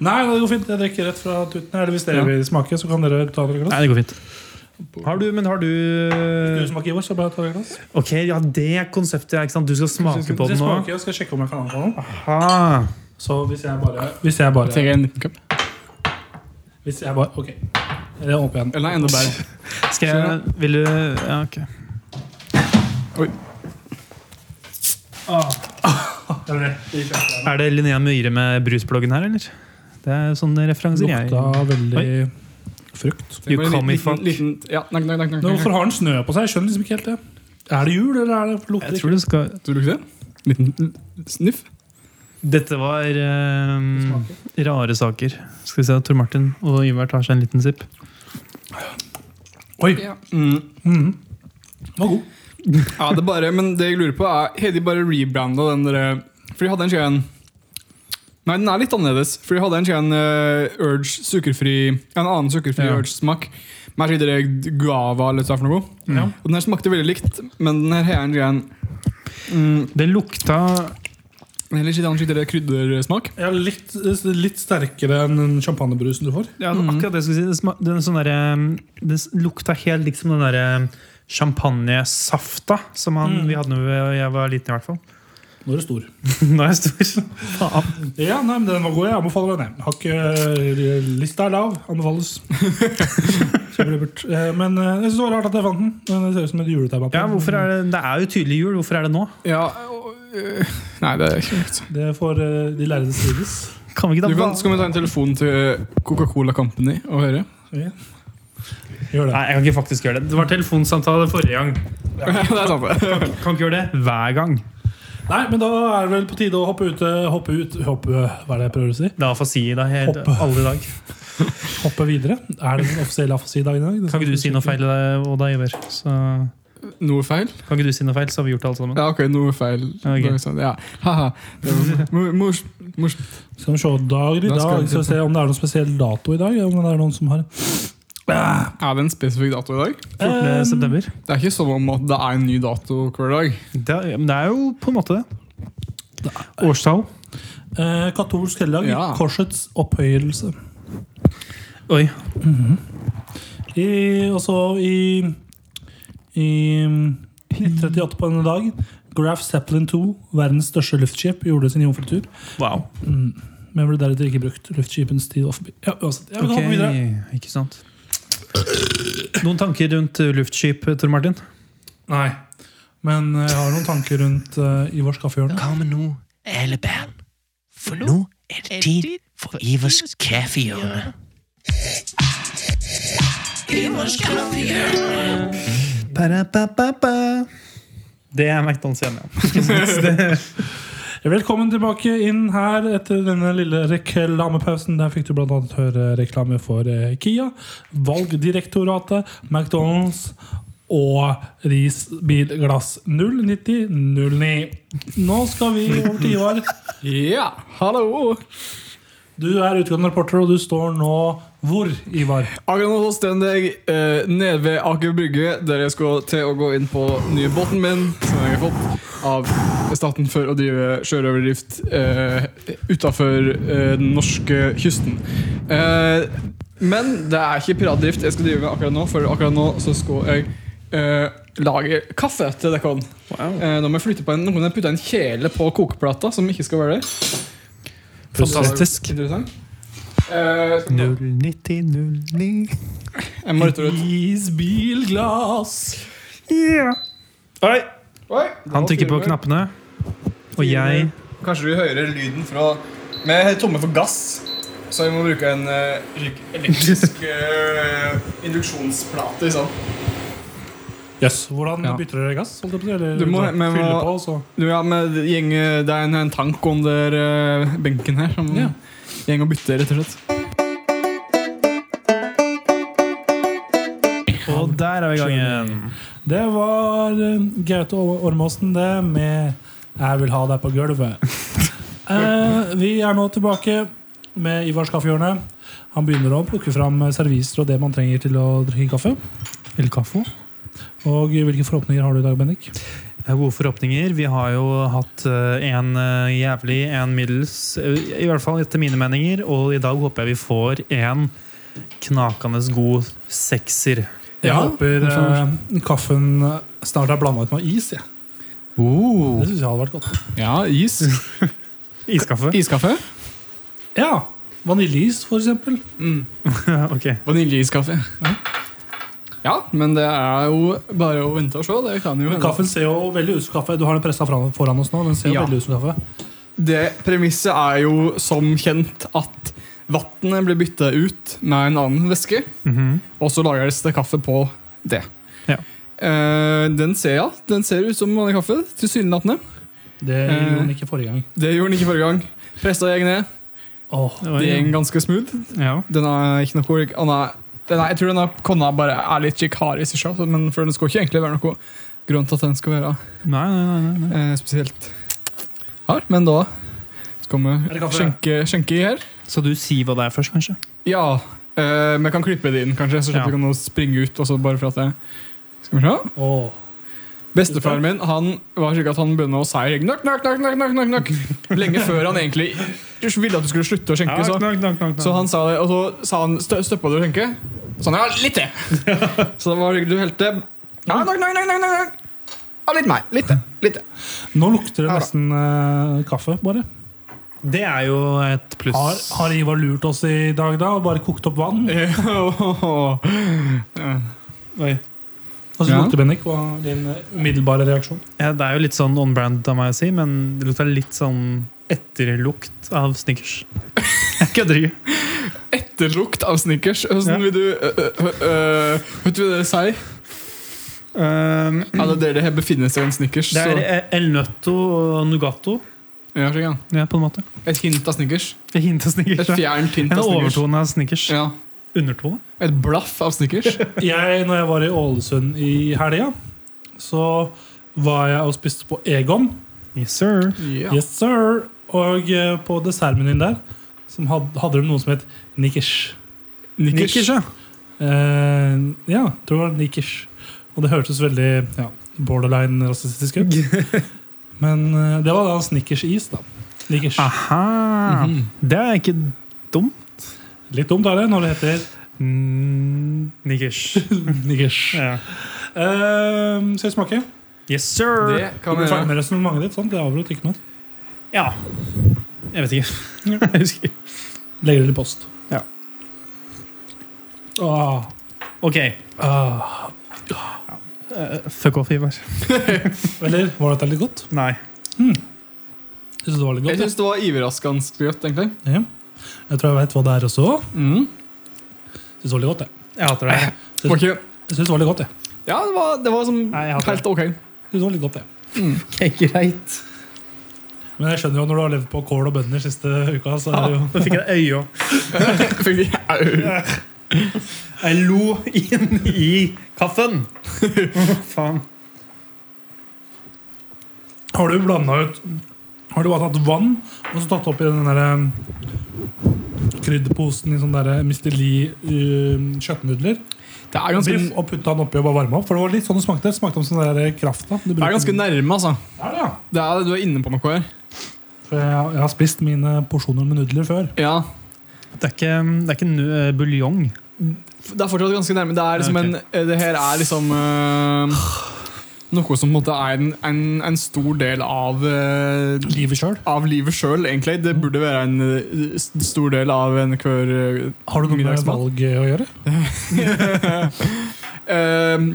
Nei, det går fint. Jeg drikker rett fra tuten. Eller hvis dere
Ja.
vil smake, så kan dere ta dere glass.
Nei, det går fint. Har du, men har du
Vil du smake, Ivar, så bare ta dere glass.
Ok, ja, det er konseptet, ja, ikke sant? Du skal smake på
Dere
den nå.
smaker, jeg skal sjekke om jeg kan anbefale den.
Aha.
Så hvis jeg bare Hvis jeg bare,
Tenker jeg en liten cup?
hvis jeg bare Ok. Det er opp igjen.
Eller enda bedre.
Skal jeg Vil du Ja, ok.
Oi.
Det
Er det Linnea Myhre med brusbloggen her, eller? Det er sånne referanser jeg
lukta veldig frukt.
Tenk bare en
You call me
liten-
fuck.
Liten, ja, nakk, nakk, nakk, nakk,
Men
nakk.
hvorfor har den snø på seg? Jeg skjønner liksom ikke helt det. Er det jul, eller er det lukter
Jeg
det?
tror du skal
Du lukter det? Liten sniff?
Dette var eh, rare saker. Skal vi se, Tor Martin og Ivar tar seg en liten sipp.
Oi!
Ja. Mm.
Mm. Var god.
Ja, det er bare, men det jeg lurer på er Har de bare rebranda den der For de hadde en skjønn Nei, den er litt annerledes. For de hadde en skjønn eh, Urge sukkerfri En annen sukkerfri
Ja.
Urge-smak. Med sånn direkt guava eller hva for noe.
Ja.
Og den her smakte veldig likt, men den her har en skjønn mm,
Det lukta
Heller ikke den skikkelig kryddersmak.
Ja, litt, litt sterkere enn den champagnebrusen du får.
ja, det var akkurat det jeg skulle si. Det, sma- den sånn derre- det s- lukta helt liksom den derre champagnesafta som han,
Mm.
vi hadde da jeg var liten, i hvert fall.
Nå er det stor.
Nå er jeg stor. Faen.
Ja, nei, men den var god. Jeg anbefaler den. jeg. Har ikke eh, Lista er lav. Anbefales. Kjempelurt. Eh, Men eh, jeg synes det var rart at jeg fant den. Men Det ser ut som et juleteip.
Ja, hvorfor er det, det er jo tydelig jul. Hvorfor er det nå?
Ja, og, øh, Nei, det er ikke riktig.
Det får eh, de lærde strides.
Kan vi ikke
Du
da
kan, skal vi ta en telefon til Coca-Cola Company og høre?
Ok. Gjør det.
Nei, jeg kan ikke faktisk gjøre det. Det var telefonsamtale forrige gang.
Ja, det er sant. det.
Kan ikke gjøre det hver gang.
Nei, men da er det vel på tide å hoppe ut eh, Hoppe ut Hoppe Hva er det jeg prøver å si?
Det er afasi i dag. helt-
Hoppe.
Alle i dag.
Hoppe videre? Er det den offisielle afasi-dagen i dag?
Kan ikke du si noe feil, eh, Oda Iver? Så
Noe feil?
kan ikke du si noe feil, så har vi gjort alt sammen.
Ja, ok, noe feil.
Ok.
Det var sånn, ja. Haha. Det var mor- mors- mors-
Skal vi se dager i
Da skal
dag?
vi-
Skal vi se om det er noen spesiell dato i dag? Om det er noen som har
Er det en spesifikk dato i dag?
14.
Eh,
september.
Det er ikke som om at det er en ny dato hver dag.
Det er, men det er jo på en måte det. Årstall.
eh, Katolsk helligdag.
Ja.
Korsets opphøyelse.
Oi.
I, og så i I 1938 på denne dag Graf Zeppelin 2, verdens største luftskip, gjorde sin jomfrutur,
Wow.
men ble deretter ikke brukt. Luftskipens tid var forbi. Ja, uansett. Ja, vi kan hoppe videre.
Ikke sant. Noen tanker rundt eh, luftskip, Tor Martin?
Nei. Men eh, jeg har noen tanker rundt eh, Ivars kaffehjørne.
Kom nå, alle barn. For nå er det tid for Ivers kaffehjørne. Ivers kaffehjørne.
Ba-da-ba-ba-ba. Det er McDonald's igjen, ja.
Velkommen tilbake inn her etter denne lille reklamepausen. Der fikk du bl.a. høre reklame for eh, Kia, Valgdirektoratet, McDonald's og Ris Bilglass 09009. Nå skal vi over til Ivar.
Ja, hallo!
Du er utgående reporter, og du står nå hvor, Ivar?
Akkurat nå så stender jeg eh, nede ved Aker Brygge, der jeg skal til å gå inn på nye båten min, som jeg har fått av staten for å drive sjørøverdrift uh, utafor den norske kysten. Eh, men det er ikke piratdrift jeg skal drive med akkurat nå, for akkurat nå så skal jeg eh, lage kaffe til Dekon.
Wow.
Eh, nå må jeg flytte på en, nå må jeg putte en kjele på kokeplata, som ikke skal være der.
Fantastisk.
Interessant. Eh, skal vi ta-
09009
jeg må rett og slett
Ris Bilglass.
yeah. Oi.
Oi,
Han trykker på knappene, og jeg
Kanskje du hører lyden fra Men jeg er tomme for gass, så jeg må bruke en eh, slik elektrisk eh, induksjonsplate. Liksom.
Yes. Hvordan
Ja.
bytter dere gass? Holdt jeg på, å si, eller,
Du må- men
fyller
må-
på, og så
Du, ja, men det gjeng, eh, det er en, en tank under eh, benken her som
Ja.
gjeng og bytter, rett og slett.
Og der er vi i gang igjen.
Det var eh, Gaute Or- Ormåsen, det, med 'Jeg vil ha deg på gulvet'. Eh, vi er nå tilbake med Ivars kaffehjørne. Han begynner å plukke fram serviser og det man trenger til å drikke kaffe.
El Caffo.
Og hvilke forhåpninger har du i dag, Bendik?
Det er Gode forhåpninger. Vi har jo hatt eh, en eh, jævlig, en middels, eh, i hvert fall etter mine meninger, og i dag håper jeg vi får en knakende god sekser.
Jeg
Ja,
håper eh, kaffen snart er blanda ut med is. jeg. Det syns jeg hadde vært godt.
Oh, Ja, is.
Iskaffe.
Iskaffe.
Ja, Vaniljeis, for eksempel.
ok.
Vaniljeiskaffe. Ja, men det er jo bare å vente og se. Det kan jo
Men
hende.
kaffen ser jo veldig ut som kaffe. Du har den pressa foran oss nå. Den ser jo
Ja.
veldig ut som kaffe.
Det premisset er jo som kjent at vannet blir bytta ut med en annen væske,
Mhm.
og så lages det kaffe på det.
Ja.
Eh, den ser jeg. Den ser ut som vanlig kaffe, tilsynelatende.
Eh. Det gjorde den ikke forrige gang.
Det gjorde den ikke forrige gang. Pressa jeg ned.
Åh,
Det var
Det
jo-
er ganske smooth.
ja.
Den er ikke noe annet den er, Jeg tror denne konna bare er litt kikk hard i seg selv, men for den skal ikke egentlig være noe grunn til at den skal være
Nei, nei, nei, nei, nei.
eh, spesielt hard. Men da skal
det
vi
kaffe?
skjenke, skjenke i her.
Så du sier hva det er først, kanskje?
Ja, eh, vi kan klippe det inn, kanskje, så slipper
Ja.
vi kan nå springe ut. Og så bare for at jeg Skal vi se.
åh.
Bestefaren min han var slik at han begynte å si knock, knock, knock, knock, knock, knock, knock. Lenge før han egentlig ville at du skulle slutte å skjenke. Så.
knakk, knakk, knakk, knakk.
Så han sa det, og så sa han stø, Støppa du å skjenke? Så han, ja, litt til Så det var du helte Ja, nok, nok, nok, nok, nok, nok. Ja, litt mer, litt til, litt til
Nå lukter det
Ja da.
nesten eh, kaffe, bare.
Det er jo et pluss.
Har, har Ivar lurt oss i dag, da? Og bare kokt opp vann?
Ja, åh.
Oi.
Og så
Ja.
lukter Bennik på din eh, umiddelbare reaksjon.
Ja, det er jo litt sånn on-brand av meg å si, men det lukta litt sånn etterlukt av Snickers. Jeg kødder ikke.
Etterlukt av snickers Hvordan
Ja.
vil du øh, øh, øh, Vet du hva det sier?
Um,
Ja, det er der det her befinner seg en snickers
det er
så,
eh, El Nøtto og Nugato,
ja, slik, ja.
ja, på en måte.
Et hint av snickers
Et hint av Snickers.
Et
ja.
fjernt hint
En
av snickers
overtone av Snickers.
ja.
Undertone?
Et blaff av snickers
Jeg, når jeg var i Ålesund i helga, så var jeg og spiste på Egon.
Yes, sir.
ja.
Yes, sir! Og eh, på dessertmenyen der som had, hadde de noe som het nikkers.
Snickers, ja.
Eh, ja, jeg tror det var nikkers. Og det hørtes veldig ja, borderline rasistisk ut. Men eh, det var da snickers-is, da. Snickers.
Ah.
Aha.
Mhm.
Det er ikke
Litt dumt er det når det heter
mm, Snickers.
nikkers.
Ja.
Eh, skal jeg smake?
Yes, sir.
Det kan
Du
vi
er ferdig
gjøre
med resonnementet ditt? sant? Det avbrøt ikke noe.
Ja. Jeg vet ikke. Jeg husker ikke.
Legger det i post.
Ja.
Ah,
Ok.
ah.
Eh, fuck off, Ivar.
Eller var dette litt godt?
Nei.
Jeg synes det var litt
Jeg
godt.
synes det var iverraskende grøt, egentlig
Ja. Jeg tror jeg vet hva det er også.
mm.
Jeg synes det var litt godt, jeg.
Jeg hater det.
Synes,
Ok.
jeg synes det var litt godt, jeg.
Ja, det var, det var som
Nei, jeg hadde-
helt ok.
Jeg Synes det var litt godt, jeg.
Okay, greit.
Men jeg skjønner jo når du har levd på kål og bønner siste uka, så er det jo
Nå fikk jeg et øye òg.
Fikk de au.
Jeg lo inn i kaffen. Å, Faen.
Har du blanda ut Har du bare tatt vann og så tatt oppi den derre krydderposen i sånne der eh, Misteli uh, kjøttnudler?
Det er ganske,
Biff, og putta den oppi og bare varma opp? For det var litt sånn det smakte. Det smakte om sånn der krafta.
det er ganske nærme, altså.
Ja, ja.
Det er, du er inne på noe her.
For jeg, jeg har spist mine porsjoner med nudler før.
Ja,
Det er ikke, det er ikke nu- eh, buljong.
Det er fortsatt ganske nærme. Det, er liksom
Ok.
en, det her er liksom øh, Noe som på en måte er en, en, en stor del av øh,
Livet sjøl.
Av livet sjøl, egentlig. Det burde være en øh, s- stor del av enhver øh,
Har du noe med
middagsmat.
valg eh, å gjøre?
Ehm,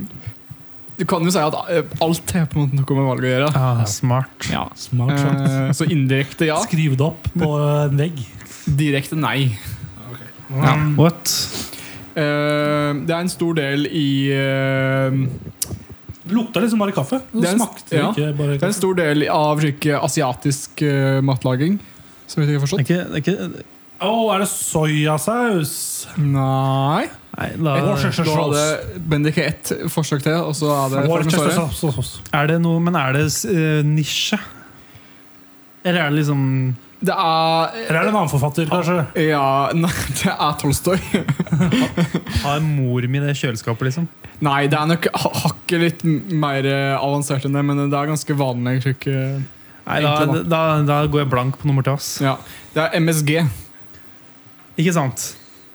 Du kan jo si at øh, alt har på en måte noe med valget å gjøre.
Ah, smart.
Ja.
Smart. sant?
så indirekte ja,
Skriv det opp på en vegg.
direkte nei.
Ja.
Ah. What?
Eh, det er en stor del i eh,
Det lukta liksom bare kaffe. Det,
Det er en-
smakte
ja.
ikke bare
Det er en
kaffe.
stor del av slik asiatisk eh, matlaging. Som jeg ikke har
Det er
forstått.
ikke, det er ikke
Å, er det soyasaus?
Nei
Nei, la,
Worcestershire
Da hadde
sauce.
Bendik ett forsøk til, og så er det
Worcestershire
Farmesåret.
sauce.
er det noe Men er det eh, nisje? Eller er det liksom
Det er
Eller er det en annen forfatter, kanskje?
Ja, nei, det er Tolstoy.
Har mor mi det kjøleskapet, liksom?
Nei, det er nok ha- hakket litt mer eh, avansert enn det, men det er ganske vanlig. Slik, eh,
Nei, da,
Egentlig,
da, da går jeg blank på nummer to. ass.
ja. Det er MSG.
Ikke sant?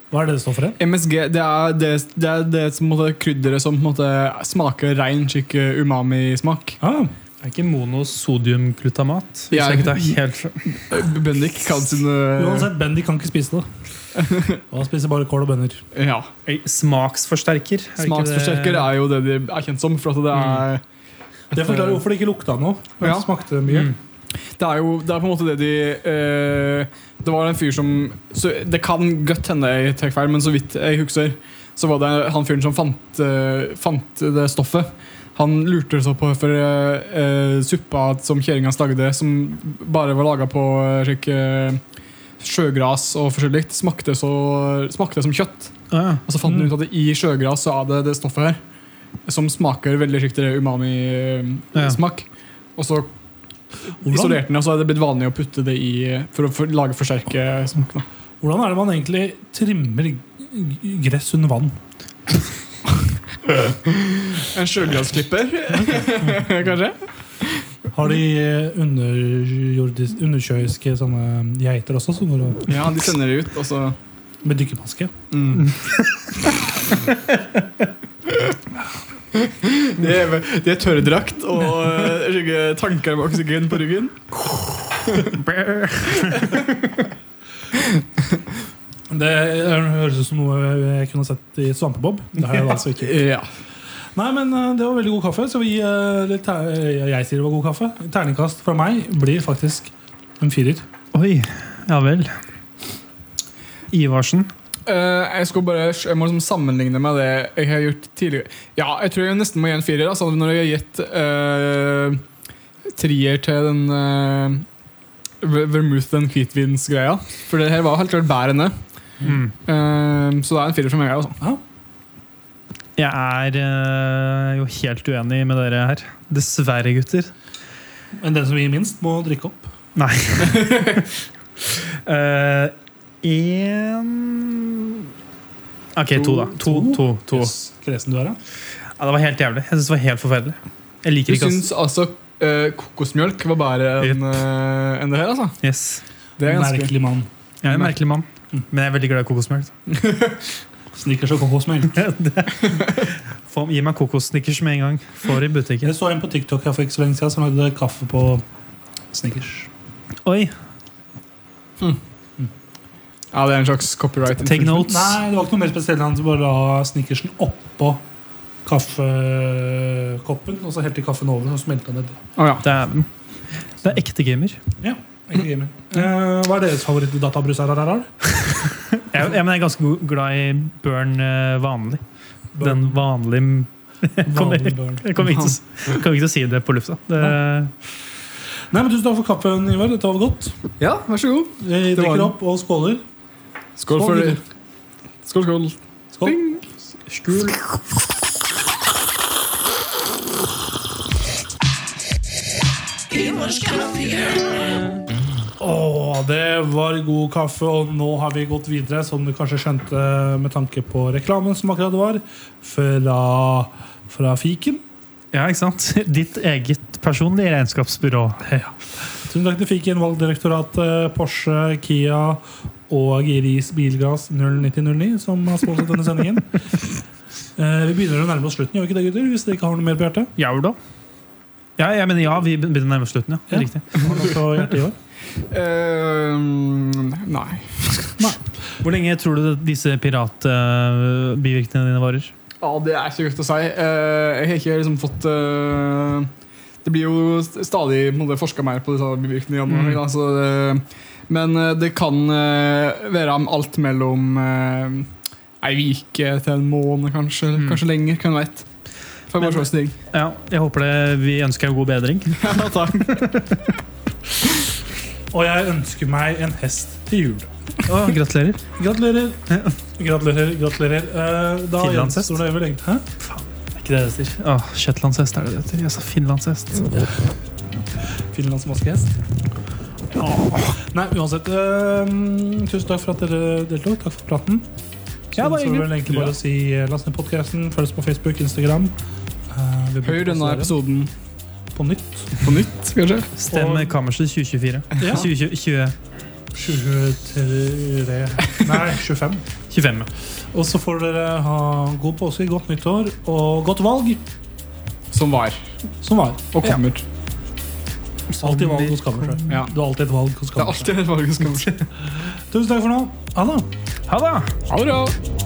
Hva er det det står for? en?
MSG det er det, det, er det som, på en måte, krydderet som på en måte, smaker rein slik eh, umami-smak.
Ah,
Det er ikke monosodiumglutamat. hvis
Ja.
jeg ikke tar helt fra-
Eh, Bendik kan sine
Ah, uansett, Bendy kan ikke spise det. Han spiser bare kål og bønner.
ja.
Oi, Smaksforsterker. er det ikke det-
Smaksforsterker er jo det de er kjent som. For at det, er,
Det forklarer hvorfor det ikke lukta noe. men
Ja.
Det smakte mye.
Mm.
det er jo det er på en måte det de eh, Det var en fyr som så Det kan godt hende jeg tar feil, men så vidt jeg husker, så var det han fyren som fant, eh, fant det stoffet. Han lurte så på for eh, eh, suppa som kjerringa hans lagde, som bare var laga på eh, slik, eh, sjøgras og forskjellig, smakte, så- smakte som kjøtt.
Ah, ja.
Og så fant han ut at i sjøgras så er det det stoffet her som smaker veldig slik
Ja.
umami-smak. Og så
Hvordan,
isolerte den, og så er det blitt vanlig å putte det i eh, for å for, lage forsterke smak. Da.
hvordan er det man egentlig trimmer g- gress under vann?
En sjøgrasklipper, kanskje?
Har de eh, underjordis- undersjøiske sånne geiter også, som går og-
Ja, de sender det ut, og så
med dykkermaske?
mm. De er, de er tørrdrakt og eh, skygge tanker med oksygen på ryggen.
Brr.
Det eh, høres ut som noe jeg kunne sett i Svampebob. Det har jeg altså ikke.
Ja.
Nei, men eh, Det var veldig god kaffe, så vi, eh, litt ter eh, jeg sier det var god kaffe. Terningkast fra meg blir faktisk en firer.
Oi. Ja vel. Ivarsen.
Eh, jeg, skal bare, jeg må liksom sammenligne med det jeg har gjort tidligere. Ja, jeg tror jeg nesten må gi en firer. Altså, når jeg har gitt eh, trier til den eh, ver- vermouth and hvitvinsgreia. For det her var helt klart bedre enn det.
Mm.
Eh, så det er en firer for meg. Altså.
Jeg er eh, jo helt uenig med dere her. Dessverre, gutter.
Men den som gir minst, må drikke opp.
Nei. Eh, En OK, to, da. To, to, to.
Yes, kresen du er, ja.
Ja, det var helt jævlig. Jeg synes det var helt forferdelig. Jeg
Du
liker ikke ass.
syns altså eh, kokosmjølk var bedre enn eh, enn det her, altså?
Yes.
Det er ganske
Merkelig mann.
Jeg er en merkelig mann, men jeg er veldig glad i kokosmelk.
Snickers og kokosmelk.
Få- Gi meg kokosnickers med en gang. Får i butikken.
Jeg så en på TikTok her for ikke så lenge siden som lagde kaffe på Snickers.
Oi,
Ja, det er en slags copyright.
take
infringement.
notes.
Nei, det var ikke noe mer spesielt. Han bare la Snickersen oppå kaffekoppen, og så helte de kaffen over og smelta ned.
Å, ja.
Dæven. Det er ekte gamer.
Ikke gamer.
Mm.
Eh, hva er deres favorittdatabrus her? her, her?
Jeg, jeg, men jeg er ganske go- glad i Burn eh, vanlig. Den vanlige Kommer-
Vanlig
Jeg kommer ikke, til å s- jeg kommer ikke til å si det på lufta. Det,
Nei, men Tusen takk for kaffen, Ivar. Dette var godt.
ja, vær så god.
Vi
Det var
drikker
den.
opp og skåler.
Skål
Skål,
for det.
gutter.
Skål, skål.
Skål.
Ding.
Skål.
Åh, det var god kaffe, og nå har vi gått videre, som du kanskje skjønte med tanke på reklamen som akkurat var, fra, fra fiken.
ja, ikke sant? Ditt eget personlige regnskapsbyrå.
Tusen takk til fiken, valgdirektoratet, eh, Porsche, Kia og Giris Bilgass 09009, som har sponset denne sendingen. Eh, vi begynner å nærme oss slutten, gjør vi ikke det, gutter? Hvis dere ikke har noe mer på hjertet?
Ja, da. Ja, jeg mener ja, vi begynner nærmest slutten, ja.
Ja.
Det er Riktig.
Har dere noe på hjertet i år?
Eh, nei.
Hvor lenge tror du disse piratbivirkningene dine varer?
Ja, det er ikke godt å si. Eh, jeg har ikke liksom fått eh, Det blir jo st- stadig forska mer på disse bivirkningene.
Mm.
da, så det- men eh, det kan eh, være om alt mellom uh, ei uke til en måned, kanskje. eller
Mm.
Kanskje lenger. Kan veit. Får
Men-
bare se hvordan det
Ja, jeg håper det, vi ønsker deg god bedring.
gikk.
Og jeg ønsker meg en hest til jul.
Og gratulerer.
Gratulerer. Gratulerer, gratulerer. Eh, da
Finlandshest.
gjenstår det vel egentlig Hæ?
Er ikke det det heter? Åh, Shetlandshest er det det heter. Jeg sa finlandshest.
Finlandsmaskehest. Åh. Nei, uansett. eh, tusen takk for at dere deltok. Takk for praten. Så
Ja,
så er det
bare
vel
hyggelig.
egentlig bare å si eh, last ned podkasten, følg oss på Facebook, Instagram. Eh, vi
Hør denne
publiserer
episoden
på nytt.
på nytt, kanskje.
Stem
Og-
Kammerset 2024.
Ja.
2020 20,
23 Nei, 25.
25. ja.
Og så får dere ha god påske, godt nyttår og godt valg,
Som var.
som var.
Og kommer.
Alltid valg hos Kammerset.
Ja.
Du har alltid et valg hos
Det er
Kammerset.
alltid et valg som kommer.
Tusen takk for nå. Ha det.
Ha det!
Ha det bra.